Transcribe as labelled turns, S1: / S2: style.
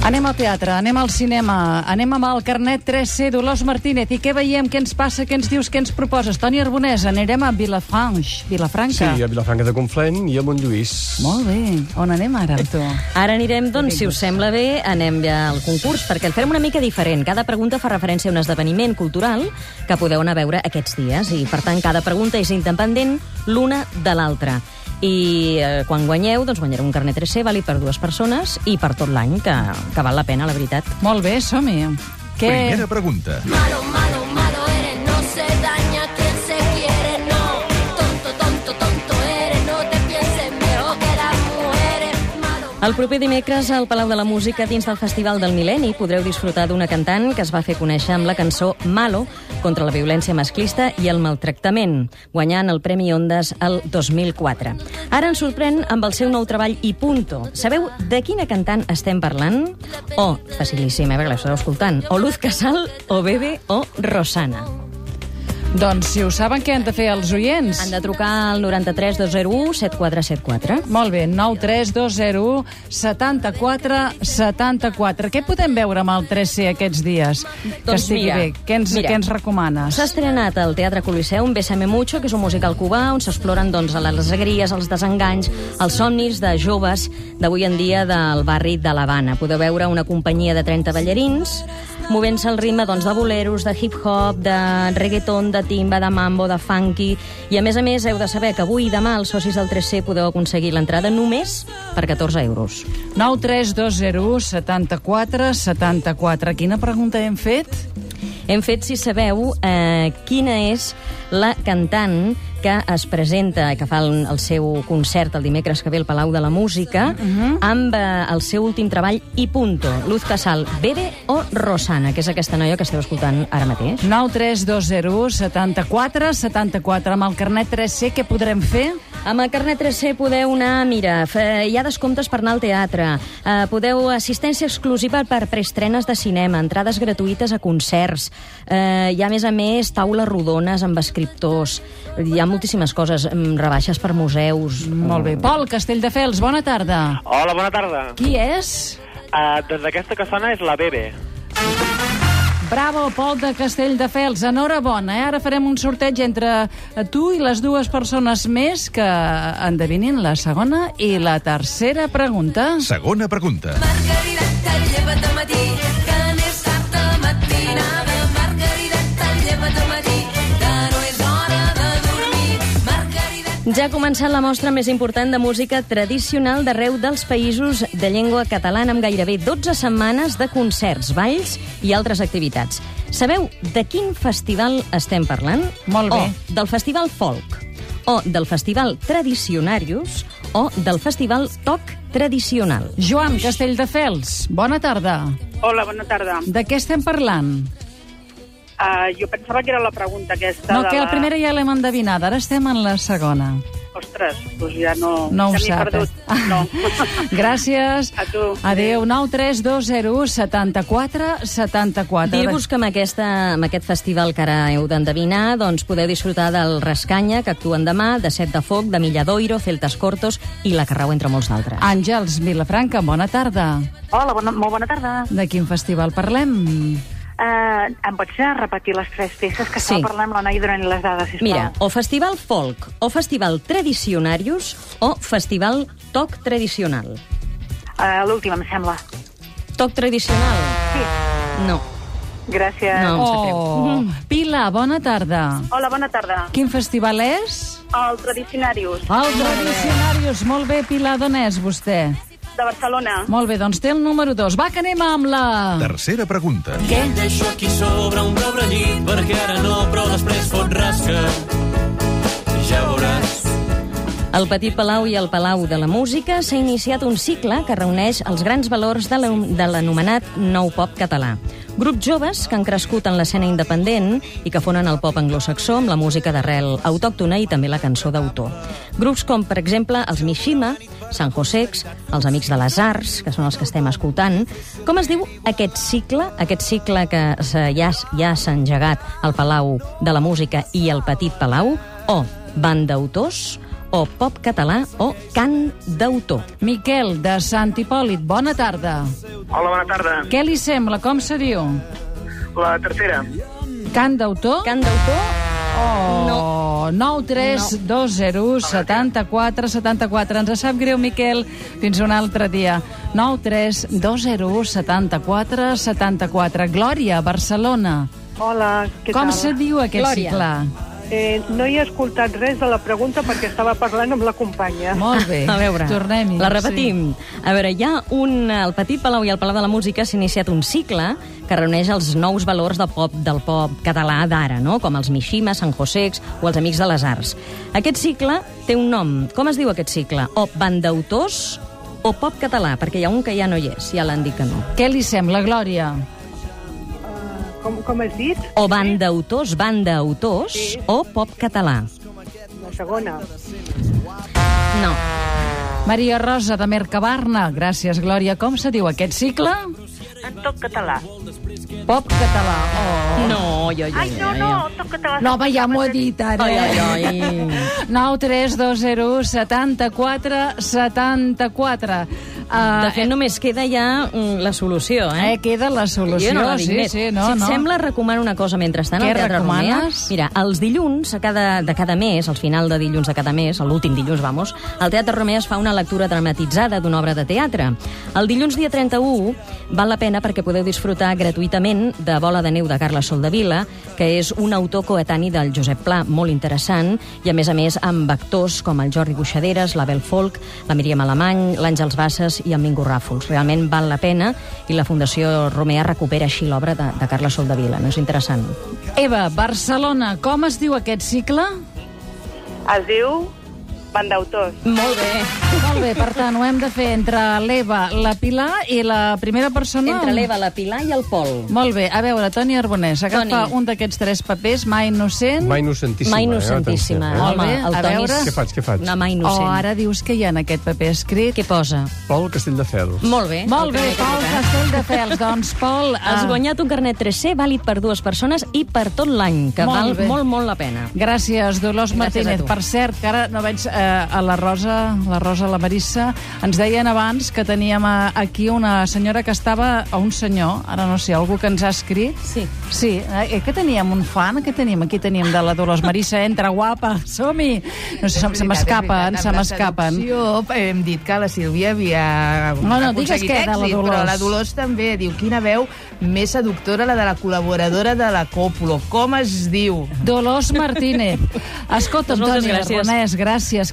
S1: Anem al teatre, anem al cinema, anem amb el carnet 3C, Dolors Martínez. I què veiem, què ens passa, què ens dius, què ens proposes? Toni Arbonès, anirem a Vilafranche, Vilafranca.
S2: Sí, a Vilafranca de Conflent i a Montlluís.
S1: Molt bé. On anem ara, amb tu?
S3: Ara anirem, doncs, si us sembla bé, anem ja al concurs, perquè el farem una mica diferent. Cada pregunta fa referència a un esdeveniment cultural que podeu anar a veure aquests dies, i, per tant, cada pregunta és independent l'una de l'altra. I eh, quan guanyeu, doncs guanyareu un carnet 3C, vàlid per dues persones i per tot l'any, que, que val la pena, la veritat.
S1: Molt bé, som-hi. Què...
S4: Primera pregunta.
S5: Malo, malo, malo eres, no se daña quien se quiere, no. Tonto, tonto, tonto eres, no te pienses mejor que las mujeres. Malo,
S3: El proper dimecres al Palau de la Música dins del Festival del Mil·lenni podreu disfrutar d'una cantant que es va fer conèixer amb la cançó Malo contra la violència masclista i el maltractament, guanyant el Premi Ondas el 2004. Ara ens sorprèn amb el seu nou treball i punto. Sabeu de quina cantant estem parlant? O, facilíssima, eh, perquè l'esteu escoltant, o Luz Casal, o Bebe, o Rosana.
S1: Doncs si ho saben, què han de fer els oients?
S3: Han de trucar al 93 201 7474.
S1: Molt bé, 9 3 2 0 1 74 74. Què podem veure amb el 3C aquests dies? que
S3: Doncs
S1: estigui
S3: mira,
S1: bé. Què ens,
S3: mira.
S1: què ens recomanes?
S3: S'ha estrenat al Teatre Coliseum Bésame Mucho, que és un musical cubà on s'exploren doncs, les alegries, els desenganys, els somnis de joves d'avui en dia del barri de l'Havana. Podeu veure una companyia de 30 ballarins movent-se al ritme doncs, de boleros, de hip-hop, de reggaeton, de timba, de mambo, de funky... I, a més a més, heu de saber que avui i demà els socis del 3C podeu aconseguir l'entrada només per 14 euros.
S1: 9 3 2 0 1 74 74. Quina pregunta hem fet?
S3: Hem fet, si sabeu, eh, quina és la cantant que es presenta, que fa el, el seu concert el dimecres que ve al Palau de la Música, amb eh, el seu últim treball i punto. Luz Casal, Bebe o Rosana, que és aquesta noia que esteu escoltant ara mateix.
S1: 9 3 2 0 1 74 74. Amb el carnet 3C què podrem fer?
S3: Amb el carnet 3C podeu anar, mira, fe- hi ha descomptes per anar al teatre, eh, podeu assistència exclusiva per preestrenes de cinema, entrades gratuïtes a concerts, eh, hi ha, a més a més, taules rodones amb escriptors, hi ha moltíssimes coses, mm, rebaixes per museus...
S1: Molt bé. Pol Castelldefels, bona tarda.
S6: Hola, bona tarda.
S1: Qui és?
S6: Uh, doncs aquesta que sona és la Bebe.
S1: Bravo, Pol de Castelldefels, enhorabona. Eh? Ara farem un sorteig entre tu i les dues persones més que endevinin la segona i la tercera pregunta.
S4: Segona pregunta.
S5: Margarida, et lleva't de matí, que n'és tard de matinada. Margarida, et lleva't de matí, que no és hora de dormir. Margarida,
S3: Ja ha començat la mostra més important de música tradicional d'arreu dels països de llengua catalana amb gairebé 12 setmanes de concerts, balls i altres activitats. Sabeu de quin festival estem parlant?
S1: Molt bé.
S3: O del Festival Folk, o del Festival Tradicionarius, o del Festival Toc Tradicional.
S1: Joan Castelldefels, bona tarda.
S7: Hola, bona tarda.
S1: De què estem parlant?
S7: Uh, jo pensava que era la pregunta aquesta.
S1: No,
S7: de
S1: que la primera ja l'hem endevinada, ara estem en la segona.
S7: Ostres, doncs ja no...
S1: No ho
S7: ja m'he
S1: sap.
S7: Perdut.
S1: eh?
S7: No.
S1: Gràcies.
S7: A tu.
S1: Adéu. 9 3 2 0 74 74.
S3: Dir-vos que amb, aquesta, amb aquest festival que ara heu d'endevinar doncs podeu disfrutar del Rascanya, que actuen demà, de Set de Foc, de Milladoiro, Celtas Cortos i La Carrau, entre molts altres.
S1: Àngels Vilafranca, bona tarda.
S8: Hola, bona, molt bona tarda.
S1: De quin festival parlem?
S8: Uh, em pots anar a repetir les tres peces que
S3: Sí.
S8: estava parlant amb la noia durant les dades, sisplau?
S3: Mira, o Festival Folk, o Festival Tradicionarius, o Festival Toc Tradicional.
S8: Uh, L'última, em sembla.
S3: Toc Tradicional?
S8: Sí.
S3: No.
S8: Gràcies.
S3: No. Em sap greu.
S1: Oh,
S8: Mhm.
S1: Pilar, bona tarda.
S7: Hola, bona tarda.
S1: Quin festival és?
S7: El Tradicionarius,
S1: El Tradicionarius. Molt bé, Pilar, d'on és vostè?
S7: de Barcelona.
S1: Molt bé, doncs té el número 2. Va, que anem amb la...
S4: Tercera pregunta.
S3: Què?
S9: Deixo aquí sobre un pobre llit, perquè ara no, però després fot rasca. Ja veuràs.
S3: El Petit Palau i el Palau de la Música s'ha iniciat un cicle que reuneix els grans valors de la- de l'anomenat nou pop català. Grups joves que han crescut en l'escena independent i que fonen el pop anglosaxó amb la música d'arrel autòctona i també la cançó d'autor. Grups com, per exemple, els Mishima, Sant Josex, els Amics de les Arts, que són els que estem escoltant. Com es diu aquest cicle? Aquest cicle que s'ha- ja s- ja s'ha engegat al Palau de la Música i al Petit Palau? O Banda Autors, o pop català o cant d'autor.
S1: Miquel, de Sant Hipòlit, bona tarda.
S6: Hola, bona tarda.
S1: Què li sembla? Com se diu?
S6: La tercera.
S1: Cant d'autor?
S3: Cant d'autor
S1: Oh, 9 3 2 0 74 74. Ens sap greu, Miquel. Fins un altre dia. 9 3 2 0 74 74. Glòria, Barcelona.
S7: Hola, què
S1: Com
S7: tal?
S1: se diu aquest
S3: Glòria.
S1: cicle?
S7: Eh, no he escoltat res de la pregunta perquè estava parlant amb la companya.
S1: Molt bé.
S3: A veure,
S1: Tornem-hi. doncs,
S3: la repetim. Sí. A veure, hi ha un... Al Petit Palau i al Palau de la Música s'ha iniciat un cicle que reuneix els nous valors del pop del pop català d'ara, no? com els Mishima, San Josecs o els Amics de les Arts. Aquest cicle té un nom. Com es diu aquest cicle? O banda d'autors o pop català, perquè hi ha un que ja no hi és, ja l'han dit que no.
S1: Sí. Què li sembla, Glòria?
S7: Com, com has dit?
S3: O banda d'autors, banda autors o pop català.
S7: La segona.
S3: No.
S1: Maria Rosa, de Mercabarna. Gràcies, Glòria. Com se diu aquest cicle?
S8: En tot català.
S1: Pop català. Oh.
S3: No, jo, jo,
S8: Ai, no, no, en tot català.
S1: No, home, ja m'ho he dit, ara.
S3: Ai, ai,
S1: Eh?
S3: ai.
S1: 9 3 2 0 74 74.
S3: De
S1: Uh,
S3: fet, només queda ja mm, la solució, eh?
S1: eh, queda la solució.
S3: Jo no la dic
S1: sí,
S3: més.
S1: sí, no,
S3: si et
S1: no.
S3: sembla, recomano una cosa mentrestant
S1: Què
S3: al Teatre
S1: recomanes?
S3: Romea. Mira, els dilluns a cada, de cada mes, al final de dilluns de cada mes, a l'últim dilluns, vamos, al Teatre Romea es fa una lectura dramatitzada d'una obra de teatre. El dilluns dia 31 val la pena perquè podeu disfrutar gratuïtament de Bola de neu de Carles Soldevila, que és un autor coetani del Josep Pla, molt interessant, i a més a més amb actors com el Jordi Buixaderes, l'Abel Folk, la Míriam Alemany, l'Àngels Bassas i el Mingo Ràfols. Realment val la pena i la Fundació Romea recupera així l'obra de, de Carles Soldevila, no és interessant?
S1: Eva, Barcelona, com es diu aquest cicle?
S7: Es diu Bandautors.
S3: Molt bé.
S1: Molt bé, per tant, ho hem de fer entre l'Eva, la Pilar i la primera persona.
S3: Entre l'Eva, la Pilar i el Pol.
S1: Molt bé, a veure, Toni Arbonès, agafa
S3: Toni.
S1: un d'aquests tres papers, Mà innocent.
S2: Mai innocentíssima.
S3: Mai innocentíssima.
S2: Eh?
S1: Molt
S3: Home,
S1: bé,
S3: el
S1: a
S3: Toni és
S1: veure.
S2: Què faig, què faig?
S3: Una mà
S1: O
S3: innocent.
S1: ara dius que hi ha en aquest paper escrit.
S3: Què posa?
S2: Pol Castelldefels.
S3: Molt bé.
S1: Molt
S3: El
S1: bé,
S3: primer que
S1: Pol
S3: toca.
S1: Castelldefels. Doncs, Pol...
S3: Has
S1: eh,
S3: guanyat un carnet 3C vàlid per dues persones i per tot l'any, que
S1: Molt
S3: val
S1: bé.
S3: molt, molt la pena.
S1: Gràcies, Dolors
S3: Gràcies
S1: Martínez.
S3: a tu.
S1: Per cert, que ara no veig eh, a la Rosa, la Rosa, la Marissa, ens deien abans que teníem eh, aquí una senyora que estava, o un senyor, ara no sé, algú que ens ha escrit.
S3: Sí.
S1: Sí, eh, que teníem un fan, que tenim, aquí tenim de la Dolors Marissa, entra guapa, som-hi. No sé, se, se m'escapen, se m'escapen.
S10: Hem dit que la Sílvia havia
S1: No, no, digues
S10: aconseguit
S1: què, de la
S10: èxit,
S1: Dolors.
S10: però la Dolors també. Diu, quina veu més seductora, la de la col·laboradora de la Còpolo. Com es diu?
S1: Dolors Martínez. Escolta'm,
S3: Doncs moltes
S1: Toni
S3: gràcies.
S1: Arbonès, gràcies.